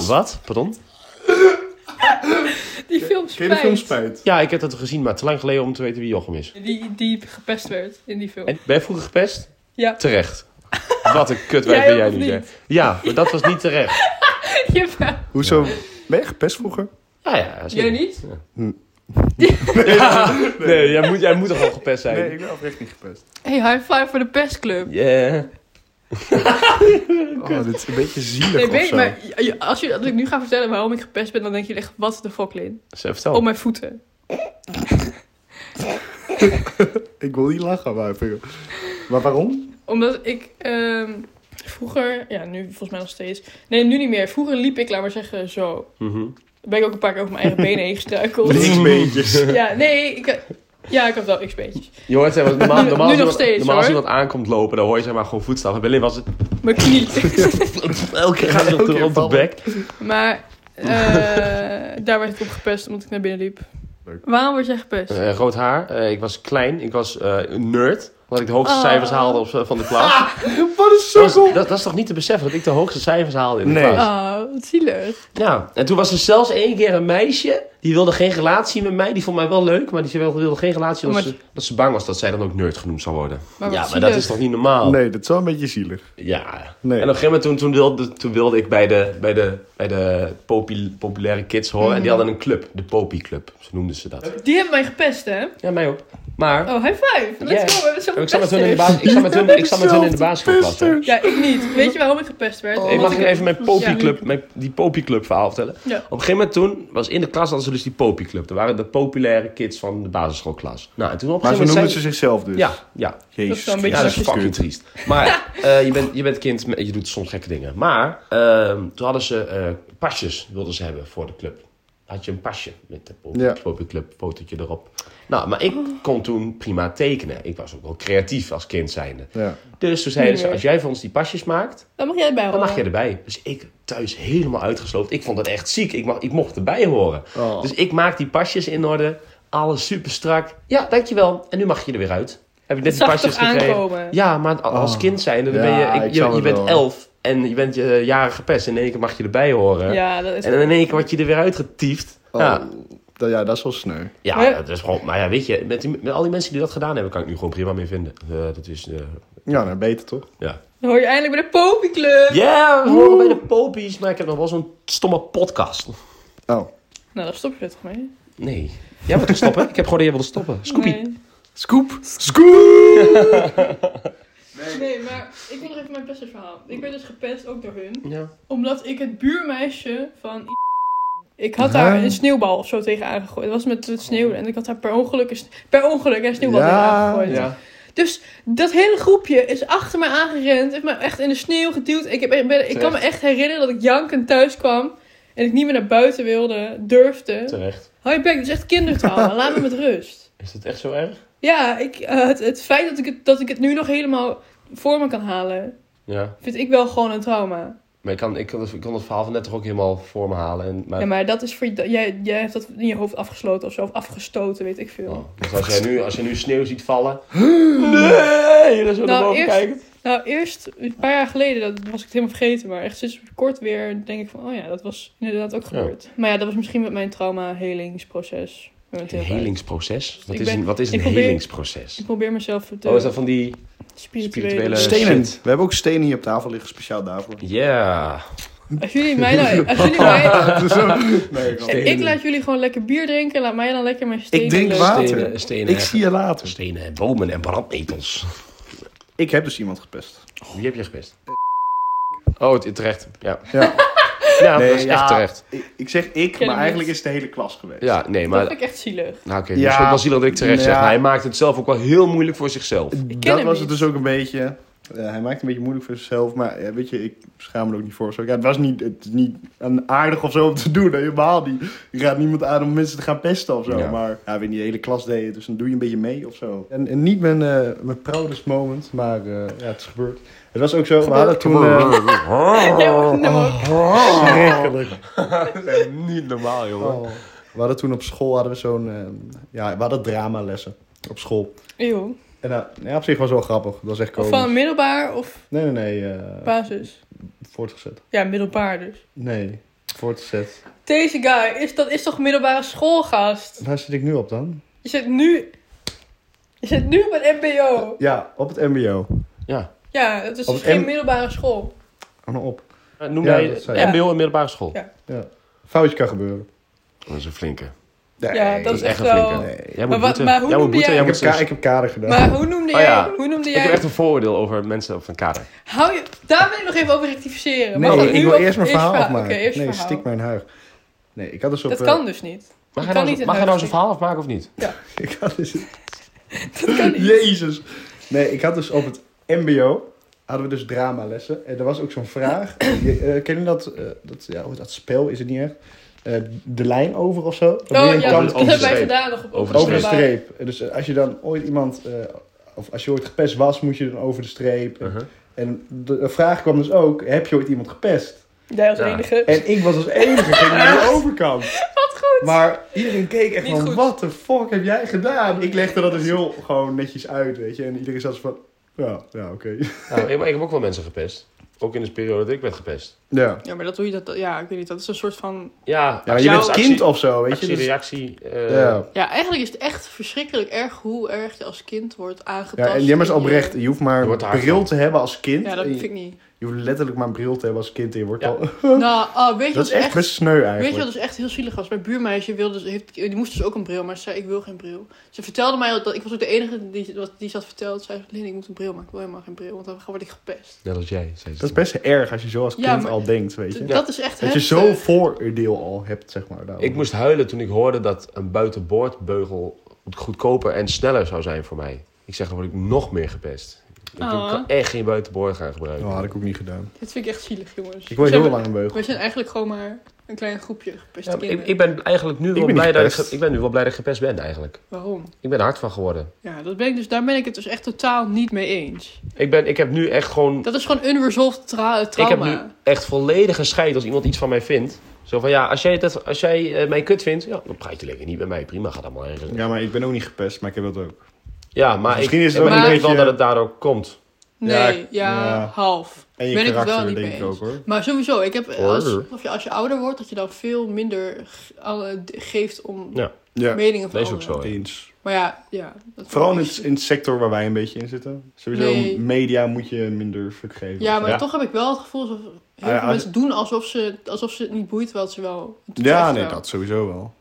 Speaker 2: Wat? Pardon?
Speaker 3: Die film
Speaker 1: Ken je de film
Speaker 3: spijt.
Speaker 1: Spijt?
Speaker 2: Ja, ik heb dat gezien, maar te lang geleden om te weten wie Jochem is.
Speaker 3: Die, die gepest werd in die film.
Speaker 2: En ben je vroeger gepest?
Speaker 3: Ja.
Speaker 2: Terecht. Wat een kutwijf ben
Speaker 3: Jij ook
Speaker 2: jij
Speaker 3: of
Speaker 2: nu.
Speaker 3: niet?
Speaker 2: zeg. Ja, maar dat was niet terecht.
Speaker 3: Jawel.
Speaker 1: Hoezo? Ben je gepest vroeger?
Speaker 2: Ah Ja, ja. zeker.
Speaker 3: Jij niet?
Speaker 2: Hm. Nee, jij moet, jij moet toch wel gepest zijn?
Speaker 1: ik ben oprecht niet gepest.
Speaker 3: Hey, high five voor de pestclub.
Speaker 2: Yeah.
Speaker 1: Oh, dit is een beetje zielig
Speaker 3: Nee,
Speaker 1: of
Speaker 3: weet
Speaker 1: zo.
Speaker 3: je, maar j- j- als, je, als ik nu ga vertellen waarom ik gepest ben, dan denk je echt, wat de fuck, Lin?
Speaker 2: Ze
Speaker 1: Oh.
Speaker 2: vertel.
Speaker 3: Om mijn voeten.
Speaker 1: Ik wil niet lachen, maar, maar waarom?
Speaker 3: Omdat ik ehm, vroeger, ja, nu volgens mij nog steeds. Nee, nu niet meer. Vroeger liep ik, laat maar zeggen, zo.
Speaker 2: Mhm.
Speaker 3: Dan ben ik ook een paar keer over mijn eigen benen heen gestruikeld.
Speaker 1: Niks beetjes.
Speaker 3: Ja, nee, ik, ja, ik had wel x-beentjes.
Speaker 2: Je hoort zeg maar, normaal,
Speaker 3: Nu-
Speaker 2: normaal,
Speaker 3: nu
Speaker 2: als,
Speaker 3: nog
Speaker 2: iemand,
Speaker 3: steeds,
Speaker 2: normaal als
Speaker 3: hoor.
Speaker 2: iemand aankomt lopen, dan hoor je zeg maar gewoon voetstappen. Bij Lin was het
Speaker 3: Mijn knie.
Speaker 2: elke keer gaat
Speaker 1: Elke
Speaker 2: op
Speaker 1: keer
Speaker 2: de, op de
Speaker 1: vallen.
Speaker 2: bek.
Speaker 3: Maar eh, daar werd ik op gepest omdat ik naar binnen liep.
Speaker 1: Leuk.
Speaker 3: Waarom word jij gepest?
Speaker 2: Eh, rood haar, eh, ik was klein, ik was eh, een nerd. Omdat ik de hoogste
Speaker 3: Oh.
Speaker 2: cijfers haalde op, eh, van de klas.
Speaker 1: Wat een
Speaker 2: dat,
Speaker 1: sukkel!
Speaker 2: was, dat, dat is toch niet te beseffen dat ik de hoogste cijfers haalde in de
Speaker 1: Nee.
Speaker 2: klas?
Speaker 3: Oh, wat zielig.
Speaker 2: Ja, en toen was er zelfs één keer een meisje. Die wilde geen relatie met mij. Die vond mij wel leuk, maar die wilde, wilde geen relatie. Omdat,
Speaker 3: Maar-
Speaker 2: ze, dat ze bang was dat zij dan ook nerd genoemd zou worden.
Speaker 3: Maar
Speaker 2: ja,
Speaker 3: wat
Speaker 2: maar dat
Speaker 3: zielig.
Speaker 2: is toch niet normaal?
Speaker 1: Nee, dat is wel een beetje zielig.
Speaker 2: Ja.
Speaker 1: Nee.
Speaker 2: En op een gegeven moment toen, toen, wilde, toen wilde ik bij de, bij de, bij de popul- populaire kids horen.
Speaker 3: Mhm.
Speaker 2: En die hadden een club. De Popie Club. Zo noemden ze dat.
Speaker 3: Die hebben mij gepest, hè?
Speaker 2: Ja, mij ook. Maar...
Speaker 3: Oh, high five. Let's
Speaker 2: Ja.
Speaker 3: go, we hebben
Speaker 2: Ik
Speaker 3: zoveel
Speaker 2: zat met hun in de,
Speaker 3: pesters.
Speaker 2: baas, ik zat met hun, ik zat met hun in de basketbalklas. hè.
Speaker 3: Ja, ik niet. Weet je waarom ik gepest werd?
Speaker 2: Hey, Oh, mag ik even mijn
Speaker 3: Ja.
Speaker 2: popieclub, mijn, die popieclub verhaal vertellen?
Speaker 3: Ja.
Speaker 2: Op een gegeven moment toen, was in de klas hadden ze dus die popieclub. Dat waren de populaire kids van de basisschoolklas. Nou, en toen op een
Speaker 1: Maar zo
Speaker 2: gegeven
Speaker 1: noemen
Speaker 2: moment
Speaker 1: ze zichzelf dus.
Speaker 2: Ja, ja.
Speaker 1: Jezus.
Speaker 3: Dat is wel een
Speaker 2: Ja,
Speaker 3: beetje
Speaker 2: dat is
Speaker 3: zakjes
Speaker 2: fucking triest. Maar eh, je, bent, je bent kind, je doet soms gekke dingen. Maar ehm, toen hadden ze eh, pasjes, wilden ze hebben voor de club. Had je een pasje met de pop-
Speaker 1: Ja.
Speaker 2: popieclub, fotootje erop. Nou, maar ik kon toen prima tekenen. Ik was ook wel creatief als kind zijnde.
Speaker 1: Ja.
Speaker 2: Dus toen zeiden ze,
Speaker 3: meer.
Speaker 2: als jij voor ons die pasjes maakt,
Speaker 3: Dan mag jij erbij
Speaker 2: dan
Speaker 3: horen.
Speaker 2: mag je erbij. Dus ik thuis helemaal uitgesloopt. Ik vond dat echt ziek. Ik, mag, ik mocht erbij horen.
Speaker 1: Oh.
Speaker 2: Dus ik maak die pasjes in orde. Alles super strak. Ja, dankjewel. En nu mag je er weer uit. Heb ik net die
Speaker 3: Zag
Speaker 2: pasjes
Speaker 3: toch
Speaker 2: gekregen.
Speaker 3: aankomen?
Speaker 2: Ja, maar a- als
Speaker 1: Oh.
Speaker 2: kind zijnde, dan
Speaker 1: Ja,
Speaker 2: ben je, ik-
Speaker 1: ik
Speaker 2: je,
Speaker 1: snap
Speaker 2: je
Speaker 1: het
Speaker 2: bent
Speaker 1: wel.
Speaker 2: elf en je bent je jaren gepest. En in één keer mag je erbij horen.
Speaker 3: Ja, dat is...
Speaker 2: En in één keer word je er weer uitgetiefd.
Speaker 1: Oh,
Speaker 2: Ja,
Speaker 1: dat- ja, dat is wel sneu.
Speaker 2: ja
Speaker 3: Maar-
Speaker 2: dat is gewoon... Maar ja, weet je, met, die- met al die mensen die dat gedaan hebben, kan ik nu gewoon prima mee vinden. Eh, dat is... eh,
Speaker 1: Ja, nou beter toch?
Speaker 2: ja.
Speaker 3: Dan hoor je eindelijk bij de popieclub.
Speaker 2: Ja, we horen bij de popies, maar ik heb nog wel zo'n stomme podcast.
Speaker 1: Oh,
Speaker 3: Nou, daar stop je er toch mee?
Speaker 2: Nee. Jij wilt toch stoppen? ik heb gewoon dat jij wilde stoppen. Scoopy.
Speaker 3: Nee.
Speaker 1: Scoop! Scoop!
Speaker 3: Nee, maar ik wil nog even mijn pestersverhaal. Ik ben dus gepest, ook door hun.
Speaker 2: Ja.
Speaker 3: Omdat ik het buurmeisje van... Ik had daar een sneeuwbal of zo tegen aangegooid. Het was met het sneeuw en ik had daar per ongeluk een, sne- per ongeluk een sneeuwbal
Speaker 1: Ja.
Speaker 3: tegen aangegooid.
Speaker 2: Ja.
Speaker 3: Dus dat hele groepje is achter me aangerend. Heeft me echt in de sneeuw geduwd. Ik, heb, ik, ben, ik kan me echt herinneren dat ik jankend thuis kwam. En ik niet meer naar buiten wilde, durfde.
Speaker 2: Terecht.
Speaker 3: Hou je bek, dat is echt kindertrauma. Laat me met rust.
Speaker 2: Is dat echt zo erg?
Speaker 3: Ja, ik, eh, het, het feit dat ik het, dat ik het nu nog helemaal voor me kan halen...
Speaker 2: Ja.
Speaker 3: vind ik wel gewoon een trauma.
Speaker 2: Maar ik kan, ik, kan, ik kon het verhaal van net toch ook helemaal voor me halen. En, maar,
Speaker 3: Ja, maar dat is voor je... Jij, jij hebt dat in je hoofd afgesloten of zo. Of afgestoten, weet ik veel.
Speaker 2: Oh, dus als jij, nu, als jij nu sneeuw ziet vallen... Nee! Dat is
Speaker 3: Nou,
Speaker 2: boven
Speaker 3: eerst-
Speaker 2: kijken.
Speaker 3: Nou, eerst een paar jaar geleden, dat was ik het helemaal vergeten. Maar echt sinds kort weer denk ik van, oh ja, dat was inderdaad ook gebeurd. Maar ja, dat was misschien met mijn trauma-helingsproces. Met mijn
Speaker 2: Een
Speaker 3: therapeut.
Speaker 2: helingsproces? Wat
Speaker 3: Ik
Speaker 2: is
Speaker 3: ben-
Speaker 2: een, wat is een
Speaker 3: ik probeer-
Speaker 2: helingsproces?
Speaker 3: Ik probeer mezelf te
Speaker 2: Oh, is dat van die...
Speaker 3: spirituele... Eh,
Speaker 2: spirituele-
Speaker 1: Stenen.
Speaker 2: Shit.
Speaker 1: We hebben ook stenen hier op tafel liggen, speciaal daarvoor.
Speaker 2: Ja.
Speaker 3: Als jullie mij nou... Als jullie mij...
Speaker 1: Nee,
Speaker 3: Ik laat jullie gewoon lekker bier drinken. Laat mij dan lekker mijn stenen...
Speaker 1: ik drink
Speaker 3: leuk-
Speaker 1: water.
Speaker 2: Stenen- stenen.
Speaker 1: Ik zie je later.
Speaker 2: Stenen en bomen en brandnetels.
Speaker 1: Ik heb dus iemand gepest.
Speaker 2: Wie heb je gepest? Oh, het- terecht. Ja.
Speaker 1: Ja.
Speaker 2: Ja,
Speaker 1: Nee,
Speaker 2: dat is
Speaker 1: ja.
Speaker 2: echt terecht.
Speaker 1: Ik, ik zeg ik,
Speaker 3: hem
Speaker 1: maar eigenlijk
Speaker 3: niet.
Speaker 1: is het de hele klas geweest.
Speaker 2: Ja, nee,
Speaker 3: Dat
Speaker 2: maar...
Speaker 3: vind ik echt zielig.
Speaker 2: Nou oké,
Speaker 1: Ja.
Speaker 2: dus ook wel zielig dat ik terecht zeg.
Speaker 1: Ja.
Speaker 2: maar Hij maakt het zelf ook wel heel moeilijk voor zichzelf.
Speaker 3: ken
Speaker 1: Dat
Speaker 3: hem
Speaker 1: was het
Speaker 3: niet.
Speaker 1: dus ook een beetje. Eh, hij maakt het een beetje moeilijk voor zichzelf, maar ja, weet je, ik schaam me er ook niet voor. Zo, ja, het was niet, het is niet een aardig of zo om te doen, helemaal niet. Je gaat niemand aan om mensen te gaan pesten of zo,
Speaker 2: Ja.
Speaker 1: maar ja, weet niet, de hele klas deed het, dus dan doe je een beetje mee of zo. En, en niet mijn, eh mijn proudest moment, maar eh, ja, het is gebeurd. Het was ook zo, we hadden toen... eh,
Speaker 3: Jij
Speaker 2: Oh.
Speaker 3: mag- nou ook.
Speaker 2: Niet normaal, jongen.
Speaker 1: Oh. We hadden toen op school hadden we zo'n. eh, ja, we hadden dramalessen op school.
Speaker 3: Eeuw.
Speaker 1: En nou, ja, op zich was het wel grappig. Dat was echt
Speaker 3: Of
Speaker 1: komisch.
Speaker 3: van middelbaar of
Speaker 1: Nee, nee, nee. eh,
Speaker 3: basis.
Speaker 1: voortgezet.
Speaker 3: Ja, middelbaar dus.
Speaker 1: Nee, voortgezet.
Speaker 3: Deze guy, is, dat is toch middelbare schoolgast?
Speaker 1: Waar zit ik nu op dan?
Speaker 3: Je zit nu. Je zit nu op een MBO.
Speaker 1: Ja, op het MBO.
Speaker 2: Ja.
Speaker 3: Ja, dat is
Speaker 1: Op
Speaker 3: dus
Speaker 1: het
Speaker 3: geen
Speaker 1: M-
Speaker 3: middelbare school.
Speaker 1: Hou nou op.
Speaker 3: Eh,
Speaker 2: Noem
Speaker 1: Ja,
Speaker 2: jij
Speaker 1: dat zei
Speaker 3: je.
Speaker 2: MBO en middelbare school?
Speaker 3: Ja.
Speaker 1: Foutje kan gebeuren.
Speaker 2: Dat is een flinke.
Speaker 1: Nee.
Speaker 3: Ja, dat is
Speaker 2: is echt
Speaker 3: echt
Speaker 2: een flinke.
Speaker 3: wel.
Speaker 1: Nee.
Speaker 2: Jij
Speaker 3: Maar
Speaker 2: moet
Speaker 3: wat-
Speaker 2: boeten,
Speaker 3: maar hoe
Speaker 2: jij moet
Speaker 3: noemde
Speaker 2: boeten,
Speaker 3: jij-
Speaker 2: jij
Speaker 1: Ik
Speaker 2: moet
Speaker 1: heb, ka-
Speaker 2: zelfs-
Speaker 1: ik heb kader gedaan.
Speaker 3: Maar hoe noemde
Speaker 2: Oh
Speaker 3: jij?
Speaker 2: ja.
Speaker 3: Hoe noemde
Speaker 2: Ik heb
Speaker 3: jij?
Speaker 2: echt een vooroordeel over mensen van kader.
Speaker 3: Hou je... Daar wil ik nog even over rectificeren.
Speaker 1: nee,
Speaker 3: Mag dat
Speaker 1: ik
Speaker 3: nu
Speaker 1: wil
Speaker 3: of-
Speaker 1: eerst mijn verhaal
Speaker 3: Oké,
Speaker 1: afmaken.
Speaker 3: eerst
Speaker 1: nee,
Speaker 3: verhaal.
Speaker 1: stik mijn huig. Nee, ik had dus op...
Speaker 3: Dat
Speaker 1: eh,
Speaker 3: kan dus niet.
Speaker 2: Mag
Speaker 3: kan
Speaker 2: hij nou,
Speaker 3: niet
Speaker 2: zo-
Speaker 3: in
Speaker 2: mag hij nou zijn
Speaker 3: huis zitten.
Speaker 2: verhaal afmaken of niet?
Speaker 1: Ik had dus...
Speaker 3: Dat kan niet.
Speaker 1: Jezus. Nee, ik had dus op het MBO hadden we dus dramalessen. En er was ook zo'n vraag. Je, eh, ken je dat, eh, dat, ja, hoe dat spel? Is het niet echt? Eh, de lijn over of zo? Dan moet
Speaker 3: Oh
Speaker 1: je een
Speaker 3: ja,
Speaker 1: kant
Speaker 3: dat
Speaker 2: over de
Speaker 3: hebben wij
Speaker 2: streep.
Speaker 3: gedaan nog op
Speaker 2: Over
Speaker 1: over de
Speaker 3: middelbare.
Speaker 1: streep. En Dus eh, als je dan ooit iemand, eh, of als je ooit gepest was, moet je dan over de streep.
Speaker 2: Uh-huh.
Speaker 1: En de, de vraag kwam dus ook, heb je ooit iemand gepest?
Speaker 3: Jij als
Speaker 2: Ja.
Speaker 3: enige.
Speaker 1: En ik was als enige, ging naar de overkant.
Speaker 3: Wat goed.
Speaker 1: Maar iedereen keek echt
Speaker 3: Niet
Speaker 1: van,
Speaker 3: goed.
Speaker 1: wat de fuck heb jij gedaan? Ik legde dat dus heel gewoon netjes uit, weet je. En iedereen zat zo van, ja, ja, oké.
Speaker 2: Nou, ik, maar ik heb ook wel mensen gepest. Ook in de periode dat ik werd gepest.
Speaker 1: Ja.
Speaker 3: Ja, maar dat doe je dat. Ja, ik weet niet. Dat is een soort van.
Speaker 2: Ja,
Speaker 1: Ja, maar je bent
Speaker 2: actie-
Speaker 1: kind of zo, weet je.
Speaker 2: actie,
Speaker 1: dus-
Speaker 2: reactie. eh,
Speaker 1: ja.
Speaker 3: Ja, eigenlijk is het echt verschrikkelijk erg hoe erg je als kind wordt aangetast.
Speaker 1: ja, en jij is
Speaker 3: in je-
Speaker 1: oprecht. Je hoeft
Speaker 2: Je
Speaker 1: maar
Speaker 2: wordt er hard
Speaker 1: bril
Speaker 2: van.
Speaker 1: te hebben als kind.
Speaker 3: Ja, dat
Speaker 1: En
Speaker 3: vind
Speaker 1: je,
Speaker 3: ik niet.
Speaker 1: je hoeft letterlijk maar een bril te hebben als kind. En je wordt
Speaker 2: Ja.
Speaker 1: al...
Speaker 3: Nou, oh, weet
Speaker 1: Dat
Speaker 3: je wat
Speaker 1: is
Speaker 3: is
Speaker 1: echt best sneu eigenlijk.
Speaker 3: Weet je wat dus echt heel zielig was? Mijn buurmeisje wilde, dus- heeft, die moest dus ook een bril, maar ze zei ik wil geen bril. Ze vertelde mij dat ik was ook de enige die, wat- die ze had verteld. Ze zei Lin, ik moet een bril, maar ik wil helemaal geen bril, want dan word ik gepest.
Speaker 2: Net als jij. zei ze
Speaker 1: Dat is best erg als je zo als kind
Speaker 3: Ja, maar-
Speaker 1: al denkt, weet je.
Speaker 3: D- Dat is echt
Speaker 1: Dat je
Speaker 3: heftig.
Speaker 1: zo'n vooroordeel al hebt, zeg maar. daarover.
Speaker 2: Ik moest huilen toen ik hoorde dat een buitenboordbeugel goedkoper en sneller zou zijn voor mij. Ik zeg, dan word ik nog meer gepest. Ik
Speaker 3: Ah.
Speaker 2: kan echt geen buitenboord gaan gebruiken.
Speaker 1: Nou, had ik ook niet gedaan.
Speaker 3: Dit vind ik echt zielig, jongens.
Speaker 1: Ik wil
Speaker 3: We zijn-
Speaker 1: heel lang een beugel.
Speaker 3: We zijn eigenlijk gewoon maar een klein groepje gepeste
Speaker 2: Ja, maar ik,
Speaker 3: kinderen.
Speaker 2: ik ben eigenlijk nu wel
Speaker 1: ben niet
Speaker 2: blij dat ik,
Speaker 1: gepest.
Speaker 2: ge- ik ben nu wel blij dat ik gepest ben eigenlijk.
Speaker 3: Waarom?
Speaker 2: Ik ben er hard van geworden.
Speaker 3: Ja, dat ben ik dus, daar ben ik het dus echt totaal niet mee eens.
Speaker 2: Ik, ben, ik heb nu echt gewoon...
Speaker 3: Dat is gewoon unresolved tra-
Speaker 2: Ik heb
Speaker 3: trauma.
Speaker 2: nu echt volledige scheid als iemand iets van mij vindt. Zo van, ja, als jij, dat, als jij eh, mij kut vindt, ja, dan praat je lekker niet met mij. Prima, gaat allemaal ergens.
Speaker 1: Ja, maar ik ben ook niet gepest, maar ik heb dat ook.
Speaker 2: Ja, maar
Speaker 1: Misschien
Speaker 2: ik,
Speaker 1: is het
Speaker 2: ik
Speaker 1: ook
Speaker 2: denk
Speaker 3: een
Speaker 2: wel
Speaker 1: beetje-
Speaker 2: dat het daardoor komt.
Speaker 3: Nee,
Speaker 1: Ja,
Speaker 3: ja,
Speaker 1: ja.
Speaker 3: half.
Speaker 1: En je
Speaker 3: ben ik het wel
Speaker 1: karakter,
Speaker 3: niet
Speaker 1: denk
Speaker 3: mee
Speaker 1: ik ook,
Speaker 3: eens.
Speaker 1: hoor.
Speaker 3: Maar sowieso, ik heb
Speaker 2: Hoor.
Speaker 3: als, of je, als je ouder wordt, dat je dan veel minder ge- alle- geeft om
Speaker 2: Ja,
Speaker 1: Ja,
Speaker 3: meningen van
Speaker 2: dat is ook
Speaker 3: anderen.
Speaker 2: zo. hè.
Speaker 1: eens.
Speaker 3: Maar ja, ja. dat- dus-
Speaker 1: Vooral in het, in het sector waar wij een beetje in zitten. Sowieso
Speaker 3: Nee.
Speaker 1: media moet je minder fuck geven.
Speaker 3: Ja, maar
Speaker 2: Ja.
Speaker 3: toch heb ik wel het gevoel alsof heel
Speaker 1: Ah Ja,
Speaker 3: veel
Speaker 1: als-
Speaker 3: mensen doen alsof ze, alsof ze het niet boeit, terwijl het ze wel... het doet
Speaker 1: Ja,
Speaker 3: echt
Speaker 1: nee,
Speaker 3: wel.
Speaker 1: dat sowieso wel.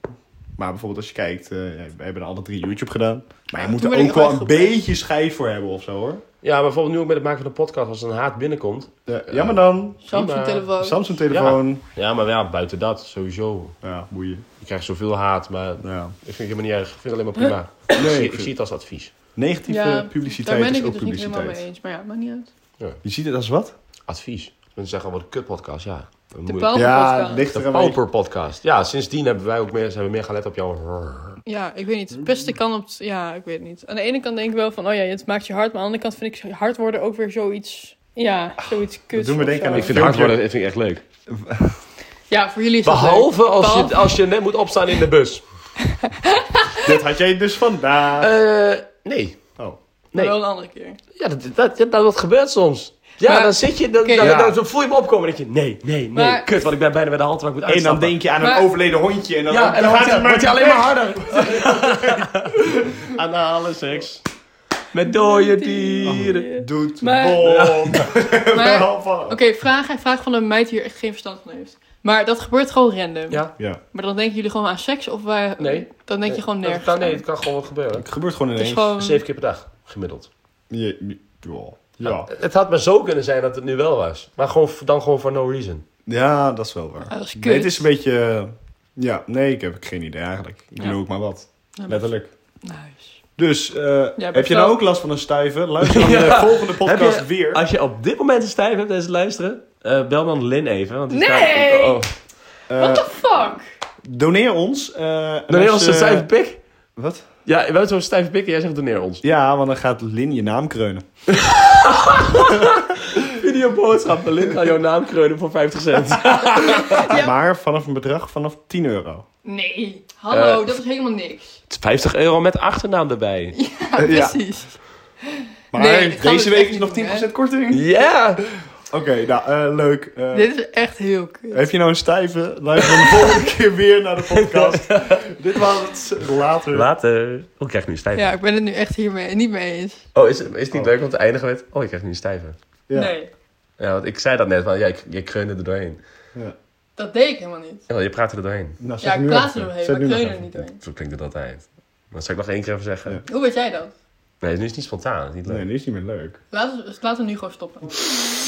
Speaker 1: Maar bijvoorbeeld als je kijkt, eh, ja, we hebben alle drie YouTube gedaan. Maar je moet
Speaker 3: toen
Speaker 1: er
Speaker 3: ben ik
Speaker 1: ook wel een
Speaker 3: uitgepest.
Speaker 1: beetje scheid voor hebben of zo hoor.
Speaker 2: Ja, maar bijvoorbeeld nu ook met het maken van de podcast, als er een haat binnenkomt.
Speaker 1: Ja, maar dan.
Speaker 3: Samsung
Speaker 2: Prima.
Speaker 3: telefoon.
Speaker 1: Samsung telefoon.
Speaker 2: Ja, maar ja, buiten dat, sowieso.
Speaker 1: Ja, boeien.
Speaker 2: Je krijgt zoveel haat, maar ik
Speaker 1: Ja.
Speaker 2: vind het helemaal niet erg. Ik vind het alleen maar prima. ik,
Speaker 1: Nee,
Speaker 2: zie,
Speaker 1: ik
Speaker 2: ik zie het als advies.
Speaker 1: Negatieve
Speaker 3: Ja,
Speaker 1: publiciteit
Speaker 3: Daar ben
Speaker 1: is
Speaker 3: ik het
Speaker 1: ook
Speaker 3: dus niet helemaal mee
Speaker 1: publiciteit.
Speaker 3: eens. Maar ja, maakt niet uit.
Speaker 1: Je ziet het als wat?
Speaker 2: Advies. Mensen zeggen, wat een kutpodcast, ja. Dan
Speaker 3: De
Speaker 2: moet-
Speaker 3: pauper
Speaker 1: Ja,
Speaker 3: podcast.
Speaker 1: ligt er
Speaker 2: De
Speaker 1: een beetje.
Speaker 2: pauper podcast. Ja, sindsdien hebben wij ook meer, zijn we meer gelet op jouw...
Speaker 3: Ja, ik weet niet. Het beste kan op... het- Ja, ik weet niet. Aan de ene kant denk ik wel van, oh ja, het maakt je hard. Maar aan de andere kant vind ik hard worden ook weer zoiets... Ja, zoiets kuts
Speaker 1: doet me
Speaker 3: of
Speaker 1: denken
Speaker 3: zo.
Speaker 1: aan
Speaker 2: Ik vind hard worden vind ik echt leuk.
Speaker 3: Ja, voor jullie is dat
Speaker 2: Behalve
Speaker 3: leuk.
Speaker 2: als je,
Speaker 3: Behalve-
Speaker 2: als je net moet opstaan in de bus.
Speaker 1: Dit had jij dus vandaag.
Speaker 2: Eh, nee.
Speaker 1: Oh.
Speaker 3: Maar
Speaker 2: Nee.
Speaker 3: wel een andere keer.
Speaker 2: Ja, dat, dat, dat, dat gebeurt soms. Ja,
Speaker 3: Maar-
Speaker 2: dan zit je, dan,
Speaker 3: Oké.
Speaker 2: dan,
Speaker 1: Ja.
Speaker 2: dan- dan voel je me opkomen en denk je, nee, nee, nee,
Speaker 3: Maar-
Speaker 2: kut, want ik ben bijna bij de hand waar ik moet
Speaker 1: En dan
Speaker 2: uitstappen.
Speaker 1: denk je aan
Speaker 3: eh, Maar-
Speaker 1: een overleden hondje. En dan,
Speaker 2: Ja, en dan wordt je, wordt je alleen maar harder.
Speaker 1: Anale seks.
Speaker 2: Met dode
Speaker 3: Oh.
Speaker 2: dieren.
Speaker 1: Doet
Speaker 3: Maar-
Speaker 1: bom.
Speaker 3: Maar, Oh. oké,
Speaker 1: Welvallen.
Speaker 3: vraag, vraag van een meid die er echt geen verstand van heeft. Maar dat gebeurt gewoon random.
Speaker 2: Ja,
Speaker 1: Ja,
Speaker 3: Maar dan denken jullie gewoon aan seks of waar...
Speaker 2: Nee.
Speaker 3: Dan denk je gewoon
Speaker 2: dat
Speaker 3: nergens
Speaker 2: kan, nee,
Speaker 3: aan. Oh.
Speaker 2: het kan gewoon wat gebeuren.
Speaker 1: het gebeurt gewoon
Speaker 3: Het is
Speaker 1: ineens.
Speaker 3: gewoon...
Speaker 2: Zeven keer per dag, gemiddeld.
Speaker 1: Ja, ja. Ja.
Speaker 2: Het had maar zo kunnen zijn dat het nu wel was. Maar gewoon, dan gewoon for no reason.
Speaker 1: ja, dat is wel waar.
Speaker 3: Ah, dat is kut.
Speaker 1: Nee, het is een beetje... eh, Ja, nee, ik heb geen idee eigenlijk. Ik
Speaker 3: Ja.
Speaker 1: doe ook maar wat.
Speaker 3: Ja, maar-
Speaker 1: Letterlijk.
Speaker 3: Nice.
Speaker 1: Dus, eh, heb
Speaker 3: best
Speaker 1: je nou
Speaker 3: wel.
Speaker 1: ook last van een stuiver? Luister dan de volgende podcast
Speaker 2: Heb je-
Speaker 1: weer.
Speaker 2: Als je op dit moment een stijf hebt en ze luisteren, eh, bel dan Lin even. Want die staat-
Speaker 3: Nee!
Speaker 2: oh.
Speaker 1: Eh,
Speaker 3: What the fuck?
Speaker 1: doneer ons. eh, en
Speaker 2: Doneer
Speaker 1: als
Speaker 2: ons
Speaker 1: je-
Speaker 2: een stijve pik.
Speaker 1: Wat?
Speaker 2: Ja, we hebben zo'n stijve pik en jij zegt doneer ons.
Speaker 1: Ja, want dan gaat Lin je naam kreunen.
Speaker 2: Videoboodschap, Lin gaat jouw naam kreunen voor 50 cent.
Speaker 3: Ja.
Speaker 1: Maar vanaf een bedrag vanaf 10 euro.
Speaker 3: Nee. Hallo,
Speaker 2: Eh,
Speaker 3: dat is helemaal niks.
Speaker 2: 50 euro met achternaam erbij.
Speaker 3: Ja, precies.
Speaker 1: Maar
Speaker 3: Nee, dat gaan we
Speaker 1: deze
Speaker 3: dus
Speaker 1: week
Speaker 3: echt
Speaker 1: is
Speaker 3: niet
Speaker 1: nog
Speaker 3: doen,
Speaker 1: 10% korting.
Speaker 2: Ja!
Speaker 1: Oké, nou, eh, leuk. Eh,
Speaker 3: Dit is echt heel kut.
Speaker 1: heb je nou een stijve? Luister dan de volgende keer weer naar de podcast. Dit was het. Later.
Speaker 2: Later. Oh, ik krijg nu een stijve.
Speaker 3: Ja, ik ben het nu echt hiermee niet mee eens.
Speaker 2: Oh, is, het- is het niet
Speaker 1: Oh.
Speaker 2: leuk om te eindigen met... Oh, ik krijg nu een stijve.
Speaker 1: Ja.
Speaker 3: Nee,
Speaker 2: Ja, want ik zei dat net, want ja, ik, je kreunde er doorheen.
Speaker 3: dat deed ik helemaal niet.
Speaker 2: Ja, Oh, je praatte er doorheen.
Speaker 1: Nou, zeg
Speaker 3: Ja, ik
Speaker 1: nu
Speaker 3: plaats er
Speaker 1: even.
Speaker 3: doorheen,
Speaker 1: Zeg
Speaker 3: maar
Speaker 1: nu
Speaker 3: ik
Speaker 1: nog
Speaker 3: kreun er
Speaker 1: even.
Speaker 3: niet doorheen.
Speaker 2: Zo klinkt het altijd. Maar zal ik nog één keer even zeggen?
Speaker 1: Ja.
Speaker 3: Hoe weet jij dat?
Speaker 2: Nee, nu is het niet spontaan. Het is niet leuk.
Speaker 1: Nee, die is niet meer leuk.
Speaker 3: Laten we, laten we nu gewoon stoppen.